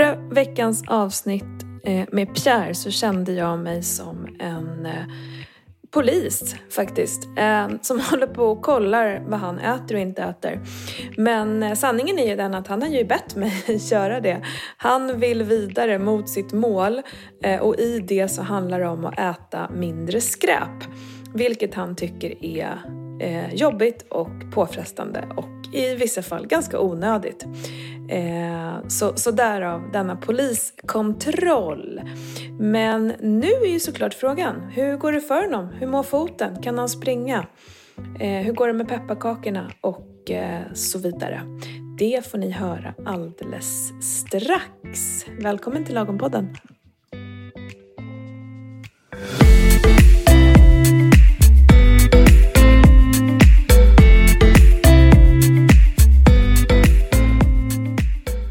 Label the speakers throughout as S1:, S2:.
S1: förra veckans avsnitt eh, med Pierre så kände jag mig som en eh, polis faktiskt. Eh, som håller på och kollar vad han äter och inte äter. Men eh, sanningen är ju den att han har ju bett mig göra det. Han vill vidare mot sitt mål eh, och i det så handlar det om att äta mindre skräp. Vilket han tycker är eh, jobbigt och påfrestande och i vissa fall ganska onödigt. Eh, så, så därav denna poliskontroll. Men nu är ju såklart frågan, hur går det för honom? Hur mår foten? Kan han springa? Eh, hur går det med pepparkakorna? Och eh, så vidare. Det får ni höra alldeles strax. Välkommen till Lagompodden.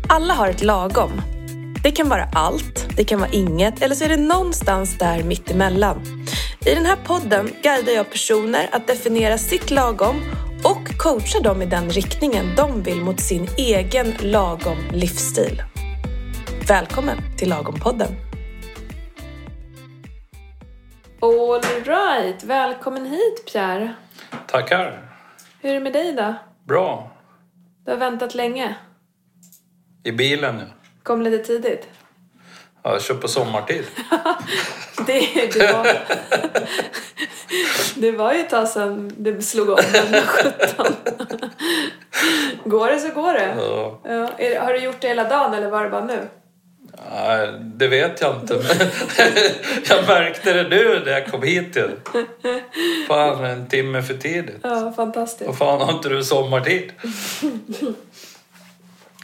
S1: Alla har ett lagom. Det kan vara allt, det kan vara inget eller så är det någonstans där mittemellan. I den här podden guidar jag personer att definiera sitt lagom och coachar dem i den riktningen de vill mot sin egen lagom livsstil. Välkommen till Lagompodden! Alright, välkommen hit Pierre!
S2: Tackar.
S1: Hur är det med dig då?
S2: Bra.
S1: Du har väntat länge.
S2: I bilen nu.
S1: Kom lite tidigt.
S2: Ja, jag kör på sommartid.
S1: Det, det, var, det var ju ett tag sedan det slog om den 17. Går det så går det.
S2: Ja,
S1: Ja, är, det- har du gjort det hela dagen eller var det bara nu?
S2: nej, det vet jag inte. Men jag märkte det nu när jag kom hit. ju. Fan, en timme för tidigt.
S1: Ja, fantastiskt.
S2: Vad fan har inte du sommartid?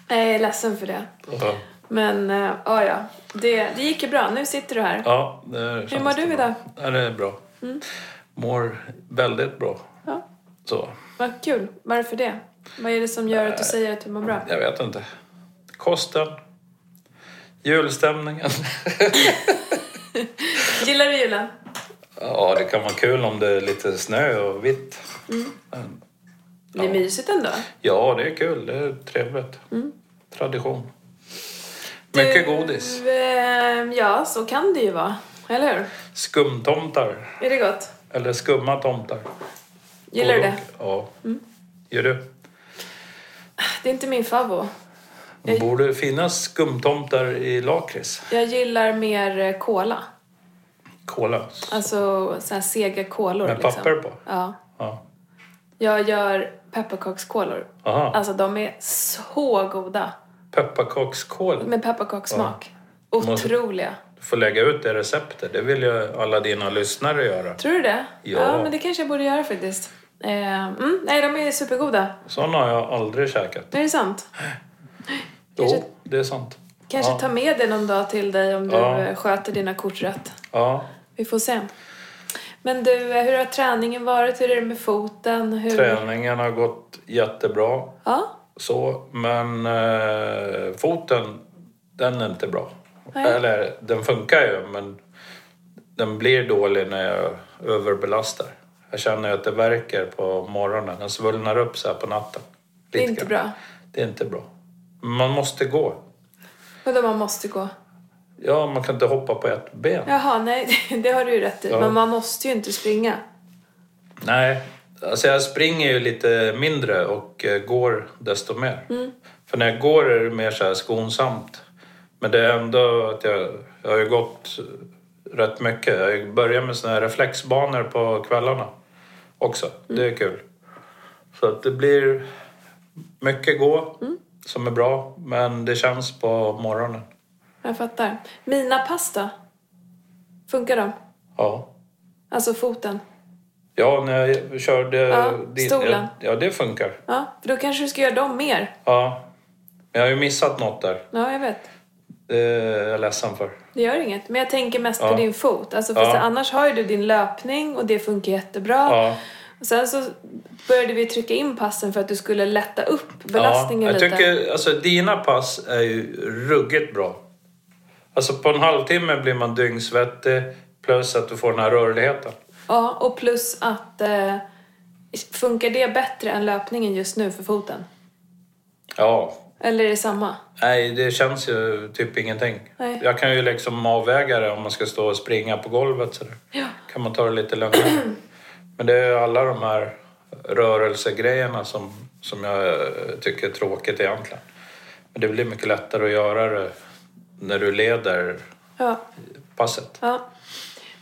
S1: Jag är ledsen för det.
S2: Ja,
S1: Men äh, ja, ja. Det, det gick ju bra. Nu sitter du här.
S2: Ja, det känns
S1: Hur mår du
S2: bra.
S1: idag? Mm.
S2: Ja, det är bra. Mår väldigt bra.
S1: Ja,
S2: Så,
S1: vad kul. Varför det? Vad är det som gör att du säger att du mår bra?
S2: jag vet inte. Kosten. Julstämningen.
S1: Gillar du julen?
S2: Ja, det kan vara kul om det är lite snö och vitt.
S1: Det är mysigt ändå.
S2: Ja, det är kul. Det är trevligt. Tradition. Mycket godis.
S1: Mm. Du, ehm, ja, så kan det ju vara. Eller hur?
S2: Skumtomtar.
S1: Är det gott?
S2: Eller skumma tomtar.
S1: Gillar du
S2: Och-
S1: det? Mm.
S2: Ja. Gör du?
S1: Det är inte min favvo.
S2: Det borde finnas skumtomtar i lakrits.
S1: Jag gillar mer eh, cola.
S2: Kola.
S1: Alltså så här sega kolor. liksom.
S2: Med papper på.
S1: Ja.
S2: Ja.
S1: Jag gör pepparkakskolor.
S2: Aha.
S1: Alltså de är så goda.
S2: Pepparkakskål.
S1: Med pepparkakssmak. Otroliga.
S2: Du får lägga ut det receptet. Det vill ju alla dina lyssnare göra.
S1: Tror du det?
S2: Ja.
S1: men det kanske jag borde göra faktiskt. Eh, mm, nej, de är supergoda.
S2: Sådana har jag aldrig käkat.
S1: Är det sant?
S2: Jo,
S1: Kanske-
S2: det är sant.
S1: Kanske
S2: Ja.
S1: ta med det någon dag till dig om du
S2: Ja.
S1: eh, sköter dina kort rätt.
S2: Ja.
S1: Vi får se. Men du, eh, hur har träningen varit? Hur är det med foten? Hur...
S2: Träningen har gått jättebra.
S1: Ja,
S2: Så, men eh, foten, den är inte bra.
S1: Nej.
S2: Eller den funkar ju, men den blir dålig när jag överbelastar. Jag känner att det värker på morgonen. Den svullnar upp så här på natten.
S1: det är
S2: Lite
S1: inte
S2: grann.
S1: bra.
S2: Det är inte bra. Man måste gå.
S1: Vadå man måste gå?
S2: Ja, man kan inte hoppa på ett ben.
S1: Jaha, nej, det har du ju rätt i.
S2: Ja.
S1: Men man måste ju inte springa.
S2: Nej, alltså jag springer ju lite mindre och eh, går desto mer.
S1: Mm.
S2: För när jag går är det mer så här skonsamt. Men det är ändå att jag, jag har ju gått rätt mycket. Jag börjar med såna här reflexbanor på kvällarna också. Det
S1: Mm.
S2: är kul. Så att det blir mycket gå
S1: Mm.
S2: som är bra, men det känns på morgonen.
S1: Jag fattar. Mina pass då? Funkar de?
S2: Ja.
S1: Alltså foten?
S2: Ja, när jag körde...
S1: Ja,
S2: dit-
S1: stolen.
S2: Ja, det funkar.
S1: Ja, för då kanske du ska göra dem mer.
S2: Ja. Men jag har ju missat något där.
S1: Ja, jag vet.
S2: Det är Eh, jag ledsen för.
S1: Det gör inget. Men jag tänker mest på
S2: Ja.
S1: din fot. Alltså, för
S2: Ja.
S1: så, annars har ju du din löpning och det funkar jättebra.
S2: Ja.
S1: Och sen så började vi trycka in passen för att du skulle lätta upp belastningen
S2: ja, jag
S1: lite.
S2: tycker, alltså dina pass är ju ruggigt bra. Alltså på en halvtimme blir man dyngsvettig plus att du får den här rörligheten.
S1: Ja, och plus att... Eh, funkar det bättre än löpningen just nu för foten?
S2: Ja,
S1: Eller är det samma?
S2: Nej, det känns ju typ ingenting.
S1: Nej.
S2: Jag kan ju liksom avväga det om man ska stå och springa på golvet sådär.
S1: Ja.
S2: Kan man ta det lite lugnare. Men det är ju alla de här rörelsegrejerna som, som jag eh, tycker är tråkigt egentligen. Men det blir mycket lättare att göra det när du leder
S1: Ja.
S2: passet.
S1: ja.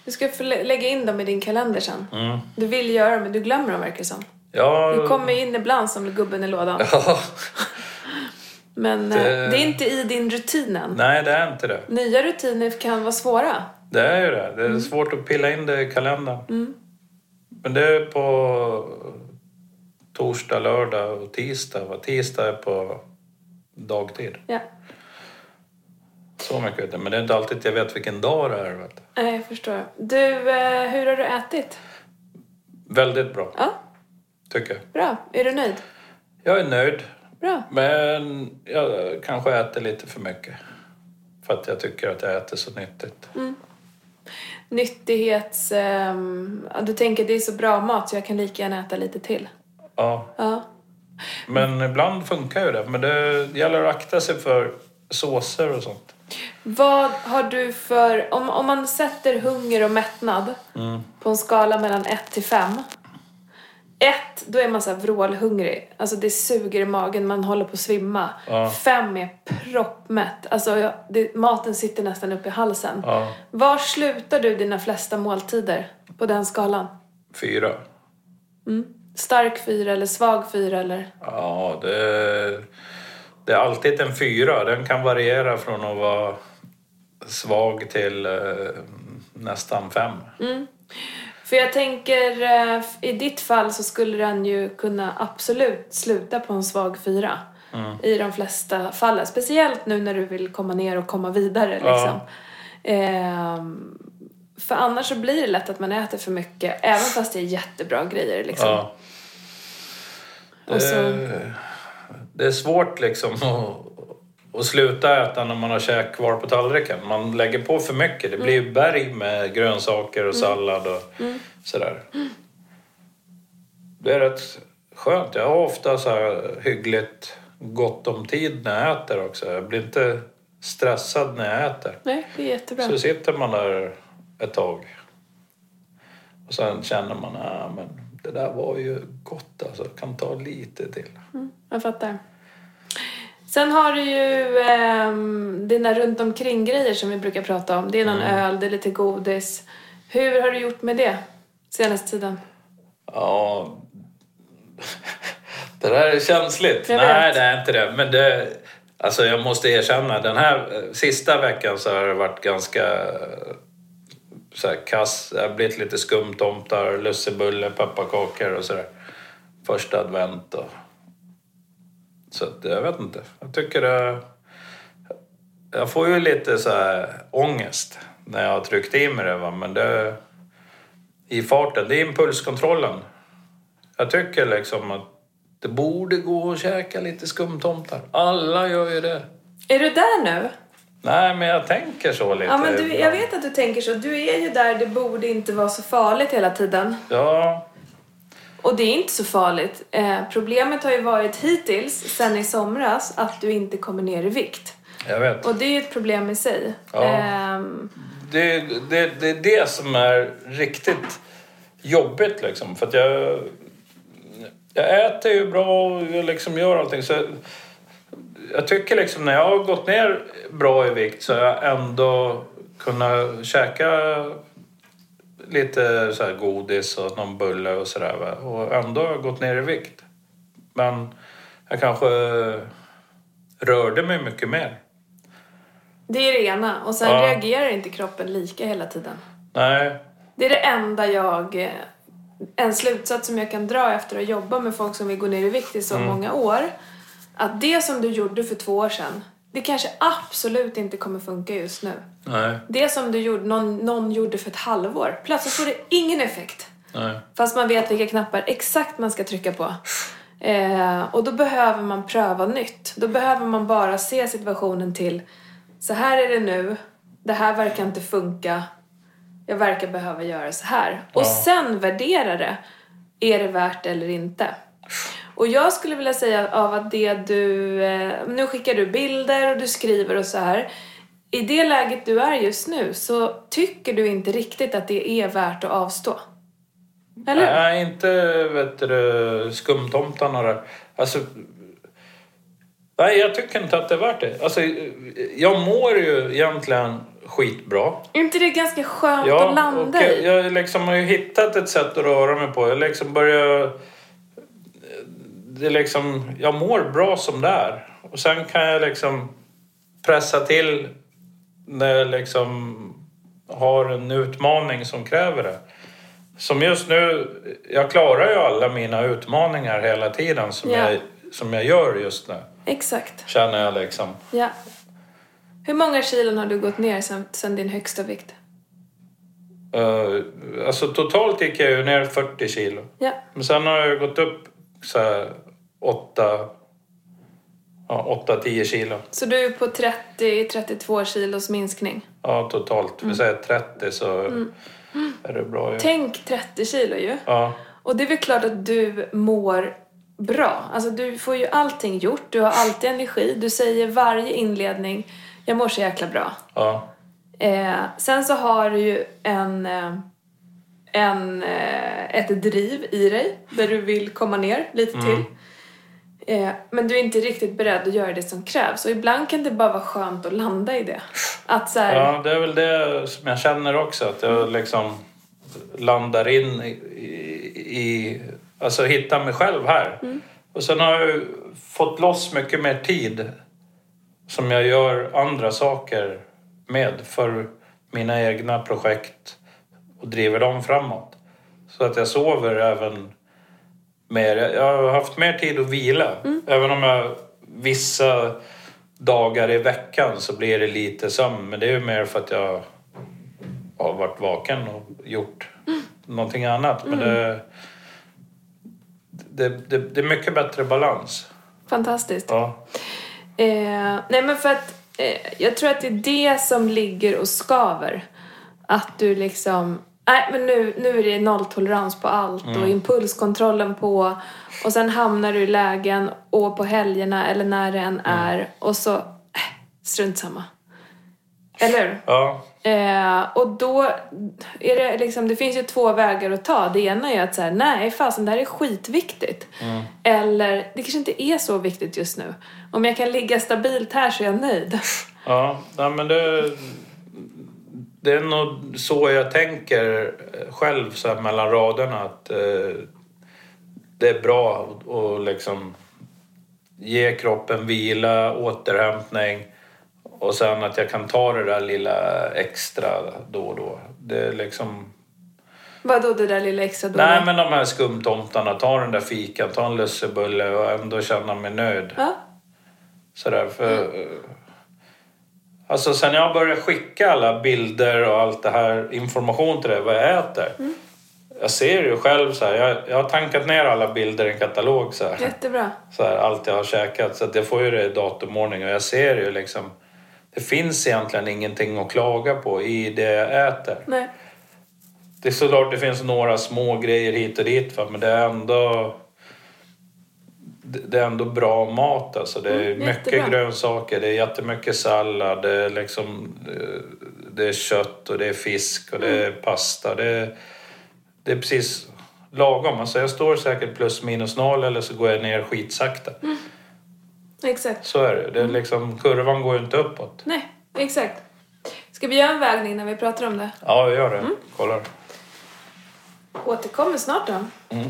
S1: Du ska få lä- lägga in dem i din kalender sen.
S2: Mm.
S1: Du vill göra dem, men du glömmer dem verkar det som.
S2: Ja,
S1: Du kommer in ibland som gubben i lådan.
S2: ja,
S1: Men eh,
S2: Det-
S1: det är inte i din rutin än.
S2: nej det är inte det.
S1: Nya rutiner kan vara svåra.
S2: Det är ju det. Det är svårt att pilla in det i kalendern. Men det är på torsdag, lördag och tisdag. Va? Tisdag är på dagtid.
S1: Ja.
S2: Så mycket vet jag. Men det är inte alltid jag vet vilken dag det är. Vet du.
S1: Nej, jag förstår. Du, eh, hur har du ätit?
S2: Väldigt bra,
S1: Ja,
S2: tycker jag.
S1: bra. Är du nöjd?
S2: Jag är nöjd.
S1: Bra.
S2: Men jag kanske äter lite för mycket. För att jag tycker att jag äter så nyttigt.
S1: Nyttighets... ehm, ja, du tänker det är så bra mat så jag kan lika gärna äta lite till.
S2: Ja.
S1: Ja.
S2: Men ibland funkar ju det. Men det gäller att akta sig för såser och sånt.
S1: Vad har du för... Om, om man sätter hunger och mättnad
S2: Mm.
S1: på en skala mellan 1 till 5. 1, då är man så här vrålhungrig. Alltså det suger i magen, man håller på att svimma.
S2: Ja.
S1: 5 är proppmätt. Alltså jag, det, maten sitter nästan upp i halsen.
S2: Ja.
S1: Var slutar du dina flesta måltider på den skalan?
S2: Fyra.
S1: Stark fyra eller svag fyra eller?
S2: Ja, det, det är alltid en fyra. Den kan variera från att vara svag till eh, nästan fem.
S1: För jag tänker, eh, i ditt fall så skulle den ju kunna absolut sluta på en svag fyra.
S2: Mm.
S1: I de flesta fallen. Speciellt nu när du vill komma ner och komma vidare liksom. Ehm, för annars så blir det lätt att man äter för mycket. Även fast det är jättebra grejer liksom.
S2: Ja.
S1: Och så,
S2: Det, Eh, det är svårt liksom att, att sluta äta när man har käk kvar på tallriken. Man lägger på för mycket. Det blir
S1: Mm.
S2: berg med grönsaker och sallad och sådär. Det är rätt skönt. Jag har ofta så här hyggligt gott om tid när jag äter också. Jag blir inte stressad när jag äter.
S1: nej, det är jättebra.
S2: Så sitter man där ett tag. Och sen känner man, ah, men det där var ju gott alltså. Jag kan ta lite till.
S1: Jag fattar. Sen har du ju ehm, dina runt omkring grejer som vi brukar prata om. Det är
S2: Mm.
S1: någon öl, det är lite godis. Hur har du gjort med det senaste tiden?
S2: Ja... Det där är känsligt.
S1: Jag
S2: Nej,
S1: vet.
S2: det är inte det. Men det... Alltså jag måste erkänna, den här eh, sista veckan så har det varit ganska eh, så här, kass. Det har blivit lite skumtomtar, lussebulle, pepparkakor och sådär. Första advent och... Så att, jag vet inte. Jag tycker det... Jag får ju lite så här ångest när jag har tryckt i mig det va? men det... I farten, det är impulskontrollen. Jag tycker liksom att det borde gå att käka lite skumtomtar. Alla gör ju det.
S1: Är du där nu?
S2: Nej, men jag tänker så lite.
S1: Ja, men du, jag
S2: ibland.
S1: vet att du tänker så. Du är ju där det borde inte vara så farligt hela tiden.
S2: Ja,
S1: Och det är inte så farligt. Eh, problemet har ju varit hittills, sen i somras, att du inte kommer ner i vikt.
S2: jag vet.
S1: Och det är ju ett problem i sig.
S2: Ja.
S1: Ehm,
S2: det, det, det är det som är riktigt jobbigt liksom. För att jag, jag äter ju bra och jag liksom gör allting. Så jag, jag tycker liksom när jag har gått ner bra i vikt så har jag ändå kunnat käka lite så här godis och någon bulle och sådär. va. Och ändå har jag gått ner i vikt. Men jag kanske rörde mig mycket mer.
S1: det är det ena. Och sen
S2: Ja.
S1: reagerar inte kroppen lika hela tiden.
S2: Nej,
S1: Det är det enda jag... eh, En slutsats som jag kan dra efter att jobba med folk som vill gå ner i vikt i så många år. Att det som du gjorde för två år sedan, det kanske absolut inte kommer funka just nu.
S2: nej,
S1: Det som du gjorde, någon, någon gjorde för ett halvår, plötsligt får det ingen effekt.
S2: nej.
S1: Fast man vet vilka knappar exakt man ska trycka på. Eh, och då behöver man pröva nytt. Då behöver man bara se situationen till så här är det nu, det här verkar inte funka, jag verkar behöva göra så här. Och
S2: Ja.
S1: sen värdera det. Är det värt eller inte? Och jag skulle vilja säga av att det du... eh, Nu skickar du bilder och du skriver och så här. I det läget du är just nu så tycker du inte riktigt att det är värt att avstå. Eller?
S2: Nej, inte vet du, skumtomtarna där. Alltså, nej, jag tycker inte att det är värt det. Alltså, jag mår ju egentligen skitbra.
S1: Är inte det ganska skönt att landa
S2: och
S1: i?
S2: jag, jag liksom har ju hittat ett sätt att röra mig på. Jag liksom börjar... Det är liksom, jag mår bra som det är. Och sen kan jag liksom pressa till när jag liksom har en utmaning som kräver det. Som just nu, jag klarar ju alla mina utmaningar hela tiden som,
S1: Ja.
S2: jag, som jag gör just nu.
S1: Exakt.
S2: Känner jag liksom.
S1: Ja. Hur många kilon har du gått ner sen, sen din högsta vikt?
S2: Eh, alltså totalt gick jag ju ner 40 kilo.
S1: Ja.
S2: Men sen har jag gått upp så här 8 ja, 8-10 kilo.
S1: Så du är på 30-32 kilos minskning.
S2: Ja, totalt. Vi säger 30 så är det bra. ju.
S1: Tänk 30 kilo ju.
S2: Ja.
S1: Och det är väl klart att du mår bra. Alltså du får ju allting gjort, du har alltid energi. Du säger varje inledning, jag mår så jäkla bra.
S2: Ja.
S1: Eh, sen så har du ju en, eh, en, eh, ett driv i dig där du vill komma ner lite till. Eh, men du är inte riktigt beredd att göra det som krävs. Och ibland kan det bara vara skönt att landa i det. Att så här,
S2: ja, det är väl det som jag känner också. Att jag liksom landar in i... i alltså hittar mig själv här. Och sen har jag ju fått loss mycket mer tid som jag gör andra saker med för mina egna projekt och driver dem framåt. Så att jag sover även mer. Jag har haft mer tid att vila. Även om jag vissa dagar i veckan så blir det lite sömn. Men det är ju mer för att jag har varit vaken och gjort någonting annat. Men det, det, det, det är mycket bättre balans.
S1: fantastiskt.
S2: Ja.
S1: Eh, nej men för att eh, jag tror att det är det som ligger och skaver. Att du liksom, nej men nu, nu är det nolltolerans på allt och impulskontrollen på och sen hamnar du i lägen och på helgerna eller när det än är och så, eh, strunt samma. Eller hur?
S2: ja.
S1: Eh, och då är det liksom, det finns ju två vägar att ta. Det ena är att säga nej fasen det här är skitviktigt. Eller, det kanske inte är så viktigt just nu. Om jag kan ligga stabilt här så är jag nöjd.
S2: Ja, nej, men det, det är nog så jag tänker eh, själv så här mellan raderna att eh, det är bra att- att liksom ge kroppen vila, återhämtning och sen att jag kan ta det där lilla extra då och då. Det är liksom...
S1: Vadå det där lilla extra dåliga?
S2: Nej men de här skumtomtarna, ta den där fikan, ta en lussebulle och ändå känna mig nöjd.
S1: Ja,
S2: Sådär, för... eh, Alltså sen jag började skicka alla bilder och allt det här information till dig, vad jag äter. Jag ser ju själv så här, jag, jag har tankat ner alla bilder i en katalog så här.
S1: jättebra.
S2: Så här allt jag har käkat, så att jag får ju det i datumordning och jag ser ju liksom det finns egentligen ingenting att klaga på i det jag äter.
S1: Nej.
S2: Det är såklart det finns några små grejer hit och dit va? men det är ändå det det är ändå bra mat alltså. Det är
S1: Mm,
S2: mycket
S1: jättebra.
S2: grönsaker, det är jättemycket sallad, det är liksom eh, det är kött och det är fisk och
S1: Mm.
S2: det är pasta. Det är, det är precis lagom. Alltså jag står säkert plus minus noll eller så går jag ner skitsakta.
S1: Mm. Exakt.
S2: Så är det. det är
S1: Mm.
S2: liksom, kurvan går ju inte uppåt.
S1: Nej, exakt. Ska vi göra en vägning när vi pratar om det?
S2: Ja, jag gör det.
S1: Mm.
S2: Kollar.
S1: Återkommer snart då.
S2: Mm.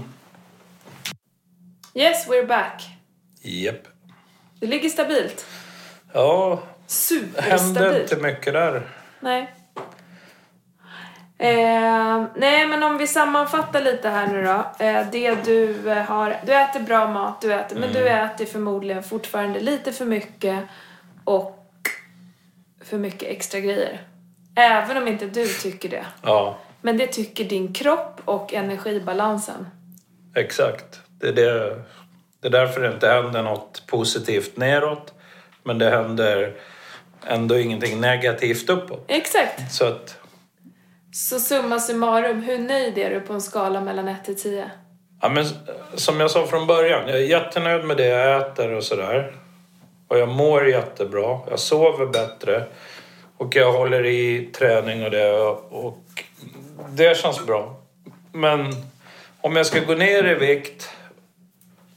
S1: Yes, we're back.
S2: Japp.
S1: Det ligger stabilt.
S2: Ja, hände
S1: Superstabilt.
S2: inte mycket där.
S1: Nej. Eh, nej, men om vi sammanfattar lite här nu då. Eh, det du eh, har... Du äter bra mat, du äter, men du äter förmodligen fortfarande lite för mycket och för mycket extra grejer. Även om inte du tycker det.
S2: Ja.
S1: Men det tycker din kropp och energibalansen.
S2: Exakt. Det är, det, det är därför det inte händer något positivt neråt. Men det händer ändå ingenting negativt uppåt.
S1: Exakt!
S2: Så att
S1: Så summa summarum, hur nöjd är du på en skala mellan 1 till 10?
S2: Ja, men som jag sa från början, jag är jättenöjd med det jag äter och sådär. Och jag mår jättebra, jag sover bättre och jag håller i träning och det. Och det känns bra. Men om jag ska gå ner i vikt,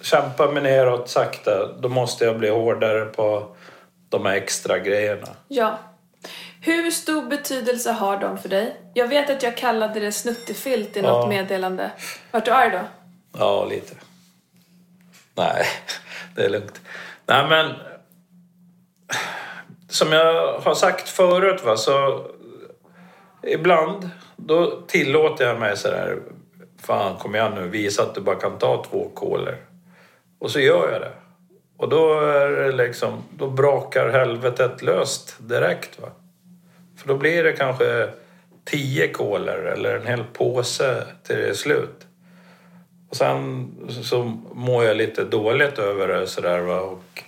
S2: kämpa mig neråt sakta, då måste jag bli hårdare på de här extra grejerna.
S1: Ja. Hur stor betydelse har de för dig? Jag vet att jag kallade det snuttefilt i något
S2: Ja.
S1: meddelande. Vart du arg då?
S2: Ja, lite. Nej, det är lugnt. Nej, men... Som jag har sagt förut, va, så... Ibland, då tillåter jag mig så här... Fan, kom igen nu. Visa att du bara kan ta två kolor. Och så gör jag det. Och då är det liksom... Då brakar helvetet löst direkt, va. För då blir det kanske tio kolor eller en hel påse till det är slut. Och sen så mår jag lite dåligt över det sådär va och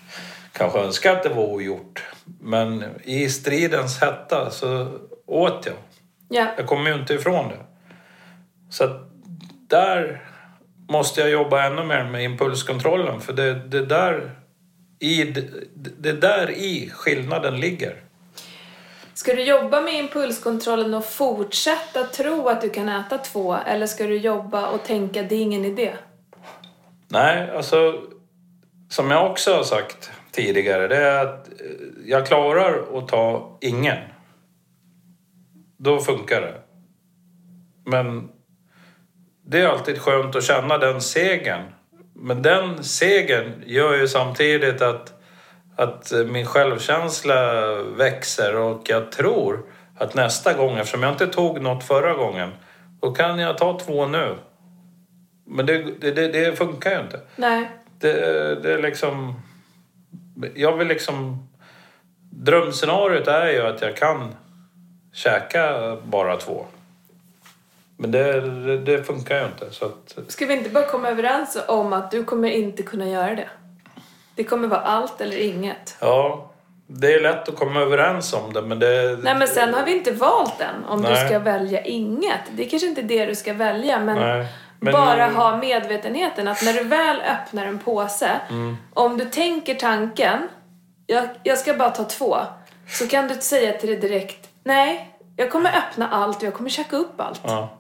S2: kanske önskar att det var ogjort. Men i stridens hetta så åt jag.
S1: Ja.
S2: Jag kommer ju inte ifrån det. Så att där måste jag jobba ännu mer med impulskontrollen för det, det där i, det, det där i skillnaden ligger.
S1: Ska du jobba med impulskontrollen och fortsätta tro att du kan äta två eller ska du jobba och tänka det är ingen idé?
S2: Nej, alltså som jag också har sagt tidigare, det är att eh, jag klarar att ta ingen. Då funkar det. Men det är alltid skönt att känna den segern. Men den segern gör ju samtidigt att, att eh, min självkänsla växer och jag tror att nästa gång, eftersom jag inte tog något förra gången, då kan jag ta två nu. Men det, det, det- det funkar ju inte.
S1: Nej.
S2: Det, det är liksom... Jag vill liksom... Drömscenariot är ju att jag kan käka bara två. Men det, det, det funkar ju inte. Så att,
S1: Ska vi inte bara komma överens om att du kommer inte kunna göra det? Det kommer vara allt eller inget.
S2: ja, det är lätt att komma överens om det, men det...
S1: Nej men sen har vi inte valt den om du
S2: Nej.
S1: ska välja inget. Det är kanske inte det du ska välja men,
S2: Nej, men-
S1: bara ha medvetenheten att när du väl öppnar en påse, om du tänker tanken, jag, jag ska bara ta två, så kan du säga till dig direkt, nej, jag kommer öppna allt och jag kommer käka upp allt.
S2: Ja.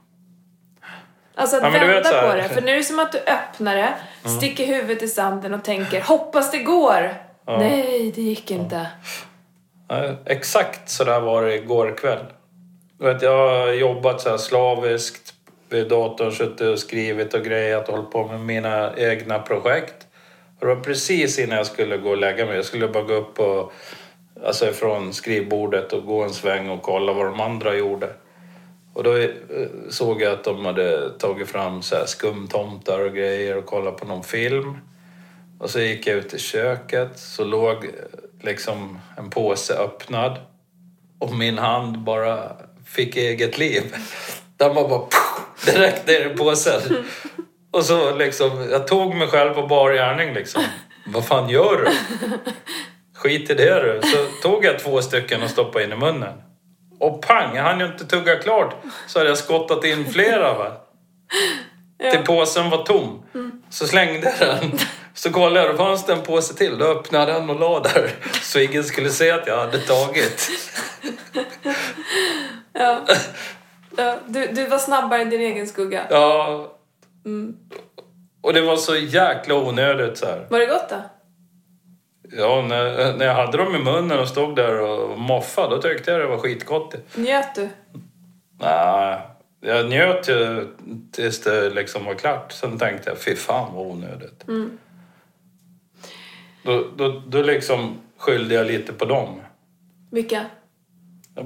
S1: Alltså att
S2: Ja, men du
S1: vända
S2: vet så här- Mm.
S1: på det, för nu är det som att du öppnar det, sticker huvudet i sanden och tänker, hoppas det går! Nej, det gick inte.
S2: Nej, Exakt så där var det igår kväll. Du vet, jag har jobbat så här slaviskt vid datorn, suttit och skrivit och grejat och hållit på med mina egna projekt. Och det var precis innan jag skulle gå och lägga mig. Jag skulle bara gå upp och, alltså från skrivbordet och gå en sväng och kolla vad de andra gjorde. Och då eh, såg jag att de hade tagit fram så här skumtomtar och grejer och kollat på någon film. Och så gick jag ut i köket så låg eh, liksom en påse öppnad och min hand bara fick eget liv. Den var bara pff, direkt ner i påsen. Och så liksom, jag tog mig själv på bar gärning liksom. Vad fan gör du? Skit i det du. Så tog jag två stycken och stoppade in i munnen. Och pang, jag hann ju inte tugga klart så hade jag skottat in flera va. Till påsen var tom. Så slängde jag den. Så kollade jag, då fanns det en påse till. Då öppnade jag den och la där. Så ingen skulle se att jag hade tagit.
S1: Ja. Ja, Du, du var snabbare än din egen skugga.
S2: Ja. Och det var så jäkla onödigt så här.
S1: Var det gott då?
S2: Ja, när, när jag hade dem i munnen och stod där och moffade, då tyckte jag det var skitgott.
S1: Njöt du?
S2: Nej, jag njöt ju tills det liksom var klart. Sen tänkte jag, fy fan vad onödigt. Då, då, då liksom skyllde jag lite på dem.
S1: Vilka?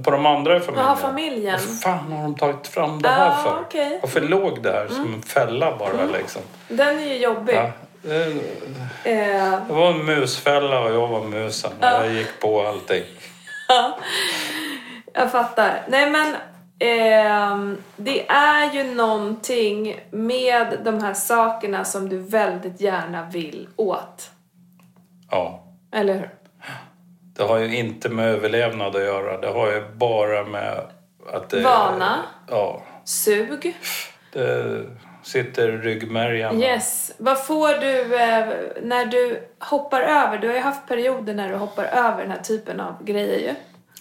S2: På de andra i familjen.
S1: Jaha, familjen.
S2: Vad fan har de tagit fram det här
S1: Ah,
S2: för?
S1: okej. Mm.
S2: Varför låg det här som en fälla bara liksom?
S1: Den är ju jobbig.
S2: Ja. Det,
S1: Eh,
S2: det var en musfälla och jag var musen. Och jag gick på allting.
S1: jag fattar. Nej men, ehm, det är ju någonting med de här sakerna som du väldigt gärna vill åt.
S2: Ja.
S1: Eller hur?
S2: Det har ju inte med överlevnad att göra. Det har ju bara med att det...
S1: Vana.
S2: Ja.
S1: Sug.
S2: Det, Sitter ryggmärgen.
S1: Yes. Vad får du eh, när du hoppar över? Du har ju haft perioder när du hoppar över den här typen av grejer ju.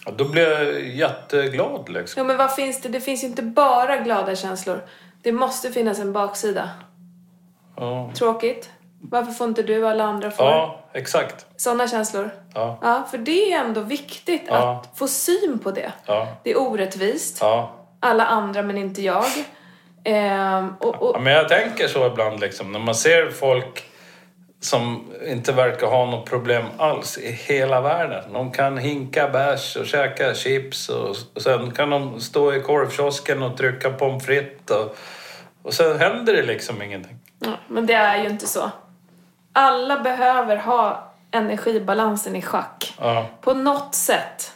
S2: Ja, Då blir jag jätteglad liksom.
S1: Jo, men vad finns det? Det finns ju inte bara glada känslor. Det måste finnas en baksida.
S2: Ja,
S1: Tråkigt. Varför får inte du alla andra får?
S2: ja exakt.
S1: Sådana känslor.
S2: Ja,
S1: Ja, för det är ändå viktigt
S2: Ja.
S1: att få syn på det.
S2: ja,
S1: Det är orättvist.
S2: ja.
S1: Alla andra men inte jag. Ehm, och, och,
S2: Ja, men jag tänker så ibland liksom. När man ser folk som inte verkar ha något problem alls i hela världen. De kan hinka bärs och käka chips och, och sen kan de stå i korvkiosken och trycka pommes frites och, och sen händer det liksom ingenting.
S1: ja, men det är ju inte så. Alla behöver ha energibalansen i schack.
S2: Ja,
S1: På något sätt.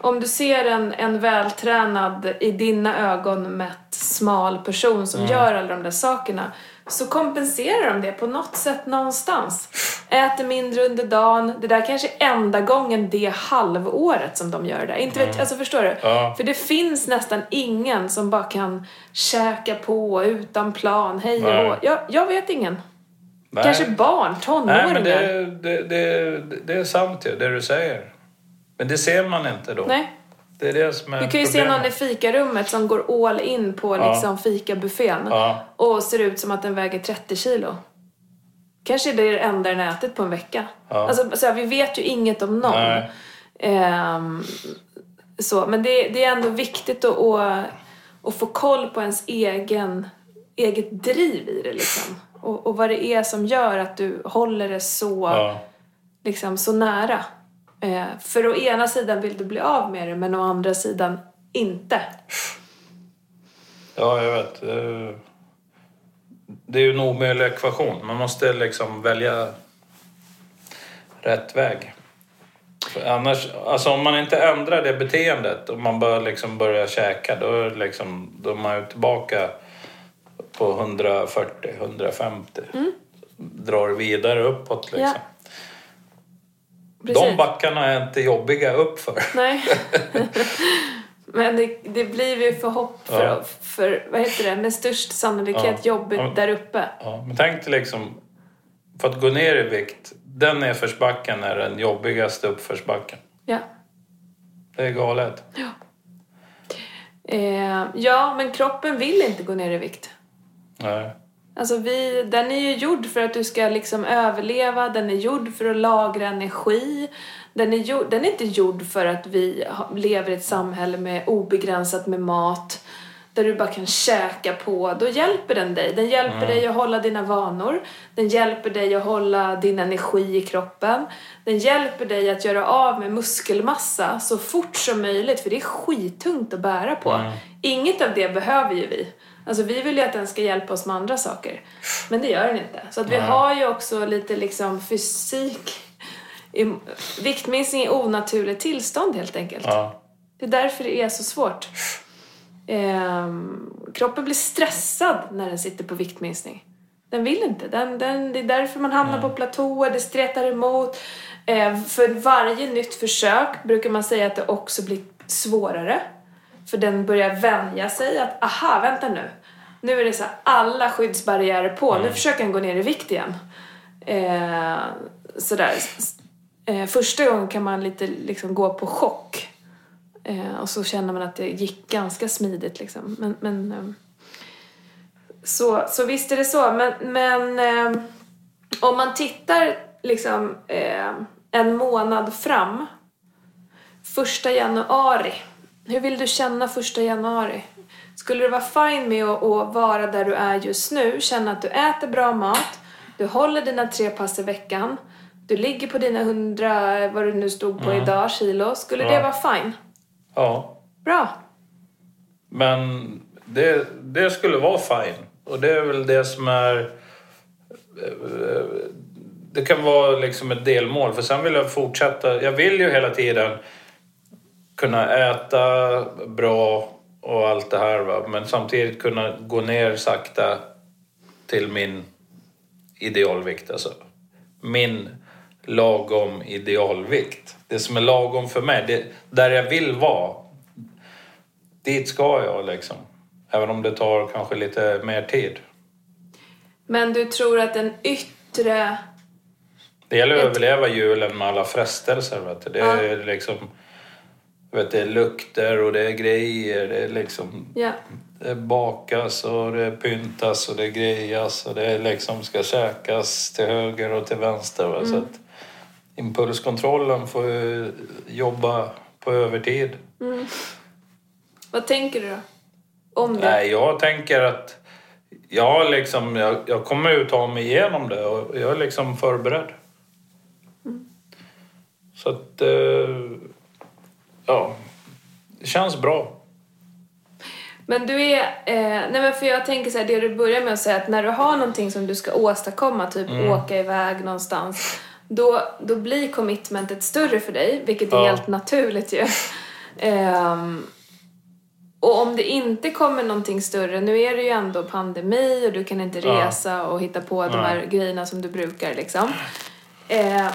S1: Om du ser en, en vältränad, i dina ögon mätt, smal person
S2: Mm.
S1: som gör alla de där sakerna så kompenserar de det på något sätt någonstans. Äter mindre under dagen. Det där kanske är enda gången det halvåret som de gör det. Inte vet, alltså förstår du?
S2: Mm. Ja.
S1: För det finns nästan ingen som bara kan käka på utan plan, hej och
S2: Nej.
S1: hå. jag, jag vet ingen.
S2: nej.
S1: Kanske barn, tonåringar.
S2: Nej, men det, det, det, det är sant ju, det du säger. Men det ser man inte då.
S1: Nej.
S2: Det är det som är
S1: Du kan ju se
S2: problemet.
S1: någon i fikarummet som går all in på
S2: Eh, Ja.
S1: liksom fikabuffén
S2: Ja.
S1: och ser ut som att den väger 30 kilo. Kanske det är det enda den har ätit på en vecka.
S2: Ja.
S1: Alltså, så här, vi vet ju inget om någon.
S2: Nej.
S1: Ehm, så, men det, det är ändå viktigt att, att, att få koll på ens egen, eget driv i det. Liksom. Och, och vad det är som gör att du håller det så
S2: Ja.
S1: liksom så nära. Eh, för å ena sidan vill du bli av med det men å andra sidan inte.
S2: Ja, jag vet. Eh, Det är ju en omöjlig ekvation. Man måste liksom välja rätt väg. För annars, alltså om man inte ändrar det beteendet och man bara liksom börjar käka då är, det liksom, då är man ju tillbaka på 140-150. Drar vidare uppåt liksom.
S1: Precis.
S2: De backarna är inte jobbiga uppför.
S1: Nej. men det, det blir ju för hopp för,
S2: Ja.
S1: för vad heter det, med störst sannolikhet
S2: Ja.
S1: jobbigt
S2: Ja.
S1: där uppe.
S2: Ja, men tänk dig liksom, för att gå ner i vikt, den nedförsbacken är den jobbigaste uppförsbacken.
S1: Ja.
S2: Det är galet.
S1: Eh, ja, men kroppen vill inte gå ner i vikt.
S2: Nej.
S1: Alltså vi, den är ju gjord för att du ska liksom överleva, den är gjord för att lagra energi. Den är, gjord, den är inte gjord för att vi ha- lever i ett samhälle med obegränsat med mat där du bara kan käka på. Då hjälper den dig. Den hjälper dig att hålla dina vanor. Den hjälper dig att hålla din energi i kroppen. Den hjälper dig att göra av med muskelmassa så fort som möjligt för det är skittungt att bära på. Inget av det behöver ju vi. Alltså vi vill ju att den ska hjälpa oss med andra saker. Men det gör den inte. Så att vi har ju också lite liksom fysik. i- Viktminskning i onaturligt tillstånd helt enkelt.
S2: Ja.
S1: Det är därför det är så svårt. Ehm, kroppen blir stressad när den sitter på viktminskning. Den vill inte. Den, den, det är därför man hamnar på platåer, det stretar emot. Eh, för varje nytt försök brukar man säga att det också blir svårare. För den börjar vänja sig att, aha, vänta nu. Nu är det så här, alla skyddsbarriärer på. Nu försöker den gå ner i vikt igen. Eh, sådär. S- Eh, första gången kan man lite liksom gå på chock. Eh, och så känner man att det gick ganska smidigt liksom. Men, men, ehm, så, så visst är det så. Men, men ehm, om man tittar liksom ehm, en månad fram. Första januari. Hur vill du känna första januari? Skulle du vara fin med att, att vara där du är just nu, känna att du äter bra mat, du håller dina tre pass i veckan, du ligger på dina hundra, vad du nu stod på idag, kilo. Skulle det
S2: Ja.
S1: vara fine?
S2: ja.
S1: Bra.
S2: Men det, det skulle vara fine. Och det är väl det som är... eh, Det kan vara liksom ett delmål. För sen vill jag fortsätta. Jag vill ju hela tiden kunna äta bra och allt det här. Va? Men samtidigt kunna gå ner sakta till min idealvikt. Alltså. Min lagom idealvikt. Det som är lagom för mig. Det, där jag vill vara. Dit ska jag liksom. Även om det tar kanske lite mer tid.
S1: Men du tror att den yttre...
S2: Det gäller att överleva julen med alla frestelser. Vet du. Det är liksom... Vet, du, det är lukter och det är grejer. Det är liksom...
S1: Ja.
S2: Det bakas och det pyntas och det grejas och det liksom ska käkas till höger och till vänster. va. Så att impulskontrollen får ju jobba på övertid.
S1: Vad tänker du då? Om det?
S2: Nej, jag tänker att jag, liksom, jag, jag kommer ju ta mig igenom det och jag är liksom förberedd.
S1: Mm.
S2: Så att, eh, ja, det känns bra.
S1: Men du är... Eh, nej men för jag tänker så här, det du börjar med att säga att när du har någonting som du ska åstadkomma, typ åka iväg någonstans, då, då blir commitmentet större för dig, vilket är
S2: Ja.
S1: helt naturligt ju. Ehm, och om det inte kommer någonting större, nu är det ju ändå pandemi och du kan inte
S2: Ja.
S1: resa och hitta på de här grejerna som du brukar liksom. Eh,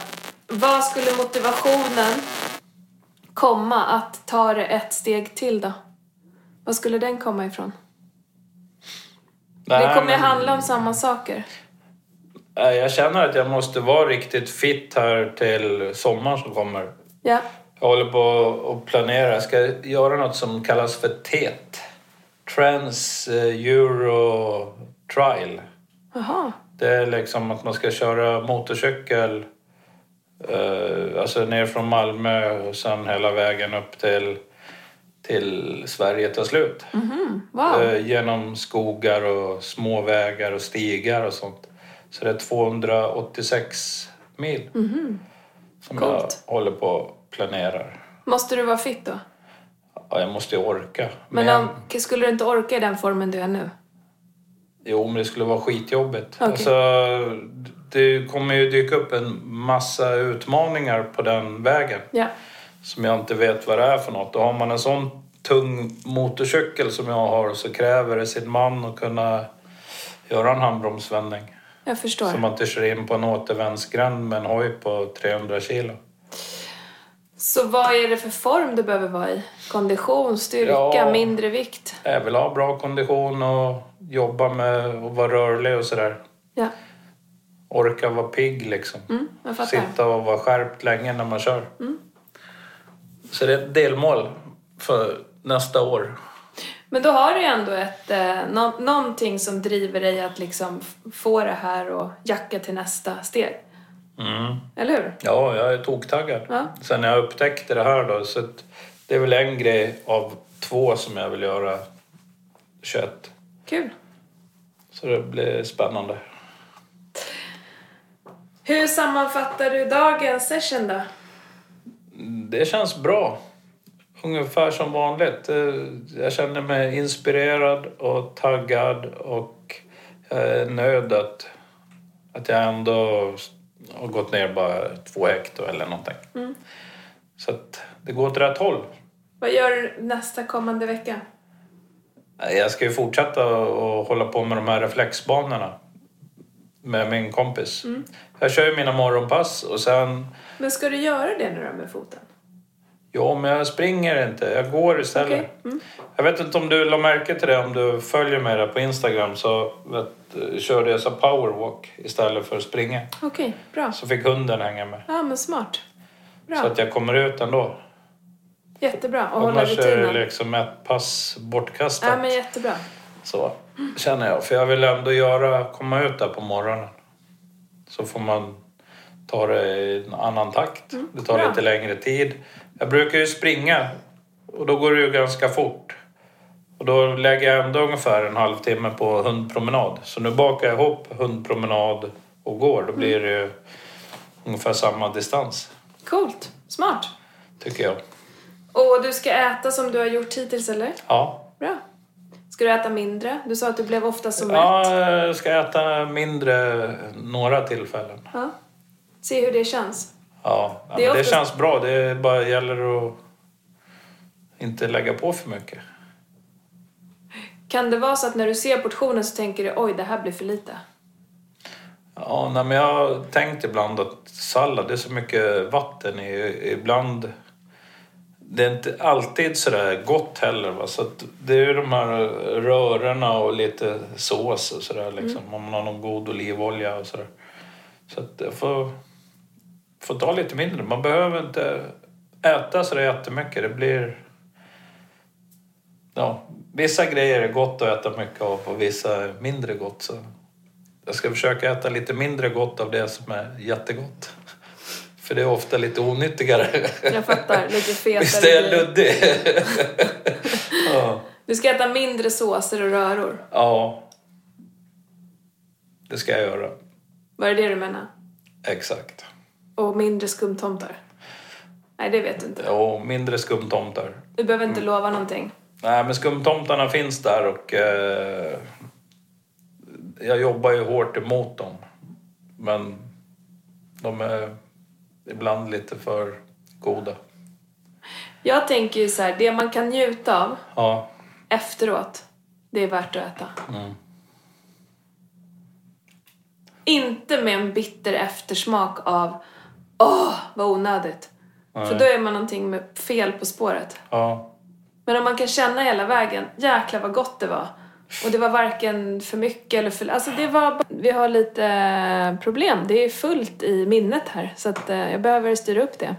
S1: vad skulle motivationen komma att ta det ett steg till då? Var skulle den komma ifrån? det
S2: Nej,
S1: kommer ju
S2: men-
S1: handla om samma saker.
S2: Nej, Jag känner att jag måste vara riktigt fit här till sommaren som kommer.
S1: Ja.
S2: Jag håller på att planera. Jag ska göra något som kallas för TET. Trans eh, Euro Trial.
S1: Jaha.
S2: Det är liksom att man ska köra motorcykel eh, alltså ner från Malmö och sen hela vägen upp till, till Sverige tar slut.
S1: Mhm. Wow.
S2: Eh, genom skogar och små vägar och stigar och sånt. Så det är 286 mil som
S1: Mhm. Coolt.
S2: jag håller på och planerar.
S1: Måste du vara fit då?
S2: Ja, jag måste ju orka.
S1: Men,
S2: Men,
S1: om, skulle du inte orka i den formen du är nu?
S2: jo, men det skulle vara skitjobbigt.
S1: Okej.
S2: Alltså, det kommer ju dyka upp en massa utmaningar på den vägen
S1: Ja.
S2: som jag inte vet vad det är för något. Och har man en sån tung motorcykel som jag har så kräver det sin man att kunna göra en handbromsvändning.
S1: Jag förstår.
S2: Så man inte kör in på en återvändsgränd med en hoj på 300 kilo.
S1: Så vad är det för form du behöver vara i? Kondition, styrka,
S2: Ja.
S1: mindre vikt?
S2: Jag vill ha bra kondition och jobba med och vara rörlig och sådär.
S1: Ja.
S2: Orka vara pigg liksom.
S1: Mm, jag fattar. Mm.
S2: Sitta och vara skärpt länge när man kör. Så det är ett delmål för nästa år.
S1: Men då har du ju ändå ett, eh, nå- någonting som driver dig att liksom f- få det här och jacka till nästa steg.
S2: Mm.
S1: Eller hur?
S2: Ja, jag är toktaggad.
S1: Ja.
S2: Sen när jag upptäckte det här då, så att det är väl en grej av två som jag vill göra 21.
S1: Kul.
S2: Så det blir spännande.
S1: Hur sammanfattar du dagens session då?
S2: Det känns bra. Ungefär som vanligt. Eh, Jag känner mig inspirerad och taggad och jag är nöjd att, att jag ändå har gått ner bara två hekto eller någonting. Så att det går åt rätt håll.
S1: Vad gör du nästa kommande vecka?
S2: Nej, Eh, Jag ska ju fortsätta och hålla på med de här reflexbanorna med min kompis. Jag kör ju mina morgonpass och sen
S1: Men ska du göra det nu då med foten?
S2: Ja, men jag springer inte. Jag går istället.
S1: Okej, mm.
S2: Jag vet inte om du la märke till det, om du följer mig där på Instagram så vet, eh, körde jag så powerwalk istället för att springa.
S1: Okej, bra.
S2: Så fick hunden hänga med.
S1: Ja, men smart.
S2: Så
S1: Bra.
S2: att jag kommer ut ändå.
S1: Jättebra. Och hålla
S2: Annars är det
S1: rutinen.
S2: liksom ett pass bortkastat.
S1: Ja, men jättebra.
S2: Så känner jag. För jag vill ändå göra, komma ut där på morgonen. Så får man ta det i en annan takt. det tar
S1: bra.
S2: lite längre tid. Jag brukar ju springa och då går det ju ganska fort. Och då lägger jag ändå ungefär en halvtimme på hundpromenad. Så nu bakar jag ihop hundpromenad och går. Då blir det ju ungefär samma distans,
S1: Coolt. Smart.
S2: tycker jag.
S1: Och du ska äta som du har gjort hittills, eller?
S2: Ja.
S1: Bra. Ska du äta mindre? Du sa att du blev ofta så mätt.
S2: ja, jag ska äta mindre några tillfällen.
S1: Ja. Se hur det känns.
S2: Ja, ja,
S1: Det är
S2: men det
S1: oftast-
S2: känns bra. Det bara gäller att inte lägga på för mycket.
S1: Kan det vara så att när du ser portionen så tänker du oj, det här blir för lite?
S2: Ja, nej, men jag har tänkt ibland att sallad, det är så mycket vatten i, ibland. det är inte alltid sådär gott heller. Va? Så att det är ju de här rörorna och lite sås och sådär liksom. Om man har någon god olivolja och sådär. Så att jag får, får ta lite mindre. Man behöver inte äta sådär jättemycket. Det blir... Ja, vissa grejer är gott att äta mycket av och vissa är mindre gott. Så jag ska försöka äta lite mindre gott av det som är jättegott. För det är ofta lite onyttigare.
S1: Jag fattar, lite fetare
S2: Visst är jag
S1: grejer.
S2: luddig? ja.
S1: Du ska äta mindre såser och röror.
S2: ja. Det ska jag göra.
S1: Var det det du menade?
S2: Exakt.
S1: Och mindre skumtomtar? Nej, det vet du inte.
S2: Och mindre skumtomtar.
S1: Du behöver inte
S2: Mm.
S1: lova någonting.
S2: Nej, men skumtomtarna finns där och eh, jag jobbar ju hårt emot dem. Men de är ibland lite för goda.
S1: Jag tänker ju så här, det man kan njuta av
S2: Ja,
S1: efteråt, det är värt att äta.
S2: Mm.
S1: Inte med en bitter eftersmak av åh, vad onödigt. För då är man någonting med fel på spåret.
S2: ja,
S1: Men om man kan känna hela vägen, jäklar vad gott det var. Och det var varken för mycket eller för... Alltså det var bara... Vi har lite problem. Det är fullt i minnet här. Så att eh, jag behöver styra upp det.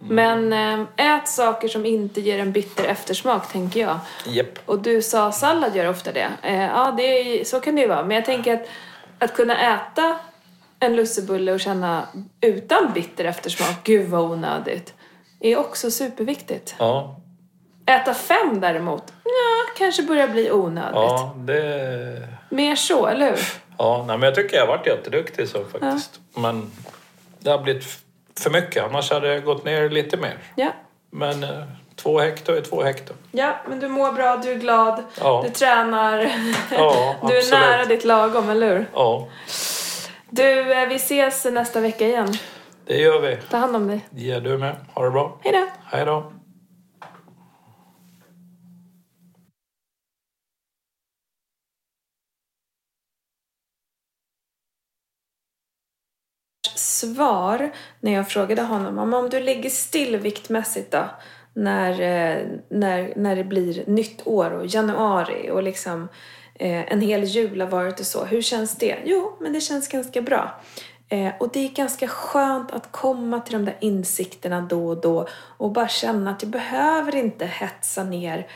S1: Men eh, ät saker som inte ger en bitter eftersmak, tänker jag.
S2: japp.
S1: Och du sa sallad gör ofta det. Eh, ja, det är, ju- så kan det ju vara. Men jag tänker att, att kunna äta en lussebulle och känna utan bitter eftersmak, gud vad onödigt, är också superviktigt.
S2: Ja,
S1: Äta fem däremot, ja, kanske börjar bli onödigt.
S2: ja, det...
S1: Mer så, eller hur?
S2: Ja, nej, men jag tycker jag har varit jätteduktig så faktiskt. Men det har blivit f- för mycket. Annars hade jag gått ner lite mer.
S1: Ja.
S2: Men eh, två hekto är två hekto.
S1: ja, men du mår bra, du är glad,
S2: Ja.
S1: du tränar,
S2: Ja,
S1: du är
S2: absolut.
S1: nära ditt lagom, eller hur?
S2: Ja,
S1: Du, eh, vi ses nästa vecka igen.
S2: det gör vi.
S1: Ta hand om dig.
S2: Ja, du med. Ha det bra.
S1: Hej då!
S2: Hej då.
S1: svar när jag frågade honom "Men om du ligger still viktmässigt då när, eh, när, när det blir nytt år och januari och liksom eh, en hel jul har varit och så. Hur känns det? Jo, men det känns ganska bra. Eh, och det är ganska skönt att komma till de där insikterna då och då och bara känna att jag behöver inte hetsa ner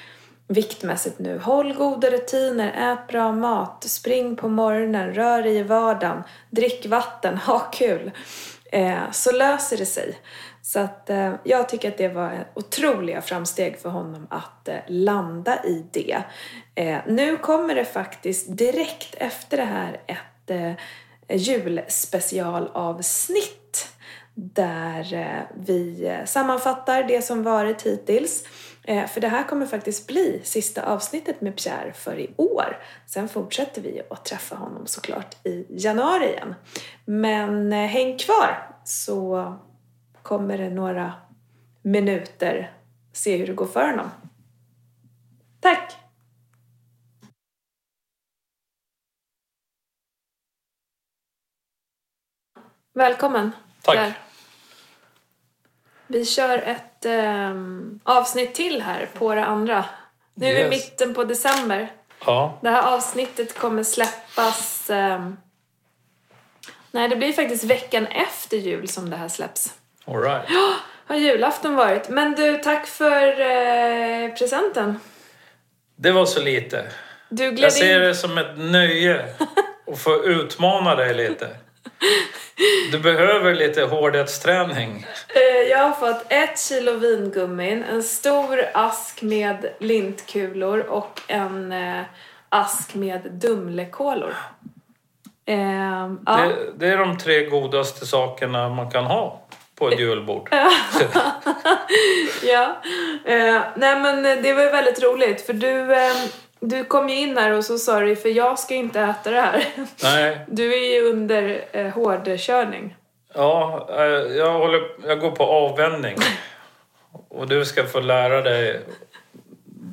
S1: viktmässigt nu. Håll goda rutiner, ät bra mat, spring på morgonen, rör dig i vardagen, drick vatten, ha kul. Eh, så löser det sig. Så att eh, jag tycker att det var otroliga framsteg för honom att eh, landa i det. Eh, nu kommer det faktiskt direkt efter det här ett eh, julspecialavsnitt där eh, vi eh, sammanfattar det som varit hittills. Eh, För det här kommer faktiskt bli sista avsnittet med Pierre för i år. Sen fortsätter vi att träffa honom såklart i januari igen. Men eh, häng kvar så kommer det några minuter se hur det går för honom. Tack! Välkommen!
S2: Tack.
S1: Pierre. Vi kör ett ehm, avsnitt till här på det andra. Nu är vi
S2: Yes.
S1: mitten på december.
S2: Ja,
S1: Det här avsnittet kommer släppas... ehm, nej, det blir faktiskt veckan efter jul som det här släpps.
S2: all right.
S1: Har julafton varit. Men du, tack för eh, presenten.
S2: Det var så lite.
S1: Du gled
S2: Jag ser
S1: in...
S2: det som ett nöje att få utmana dig lite. Du behöver lite hårdhetsträning.
S1: Eh, jag har fått ett kilo vingummin, en stor ask med lintkulor och en eh, ask med Dumlekolor. Ehm, ja.
S2: Det, det är de tre godaste sakerna man kan ha på ett julbord.
S1: Ja, eh, nej men eh, det var ju väldigt roligt för du, eh, du kom ju in här och så sa du för jag ska inte äta det här.
S2: Nej,
S1: Du är ju under eh, hårdkörning.
S2: ja, eh, jag, håller, jag går på avvänjning. Och du ska få lära dig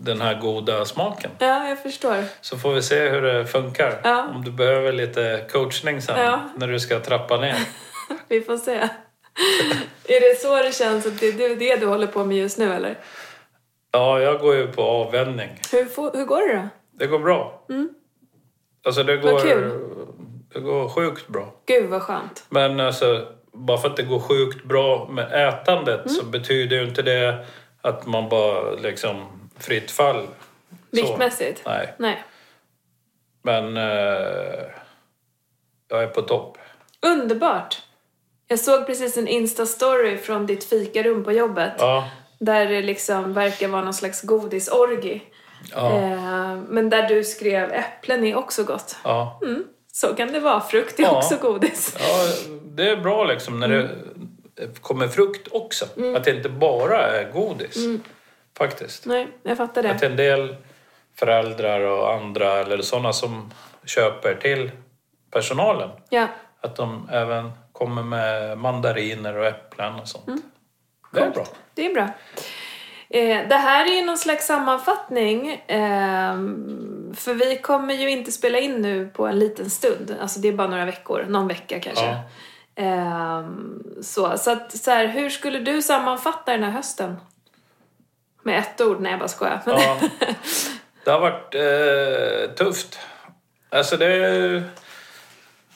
S2: den här goda smaken.
S1: Ja, jag förstår.
S2: Så får vi se hur det funkar.
S1: Ja.
S2: Om du behöver lite coachning sen
S1: Ja.
S2: när du ska trappa ner.
S1: Vi får se. Är det så det känns att det är det du håller på med just nu eller?
S2: Ja, jag går ju på avvänjning.
S1: Hur, får- hur går det då?
S2: Det går bra. Alltså det går,
S1: Mm. kul.
S2: det går sjukt bra.
S1: Gud vad skönt.
S2: Men alltså, bara för att det går sjukt bra med ätandet
S1: Mm.
S2: så betyder ju inte det att man bara liksom fritt fall.
S1: Viktmässigt?
S2: Så. Nej,
S1: Nej.
S2: men eh, jag är på topp.
S1: Underbart! Jag såg precis en Insta-story från ditt fikarum på jobbet.
S2: Ja,
S1: Där det liksom verkar vara någon slags godisorgi.
S2: ja,
S1: Eh, men där du skrev äpplen är också gott.
S2: ja.
S1: Mm, så kan det vara. Frukt är
S2: Ja.
S1: också godis.
S2: ja. Det är bra liksom när det kommer frukt också. Att det inte bara är godis. Faktiskt.
S1: Nej, jag fattar
S2: Att
S1: det.
S2: en del föräldrar och andra eller sådana som köper till personalen
S1: Ja,
S2: Att de även kommer med mandariner och äpplen och sånt. Det är bra.
S1: det är bra. Eh, det här är ju någon slags sammanfattning. ehm, för vi kommer ju inte spela in nu på en liten stund. Alltså det är bara några veckor. Någon vecka kanske.
S2: Ja.
S1: Ehm, så så, att, så här, hur skulle du sammanfatta den här hösten? Med ett ord? Nej, jag bara skojar. Men,
S2: Ja. Det har varit eh, tufft. Alltså det... är-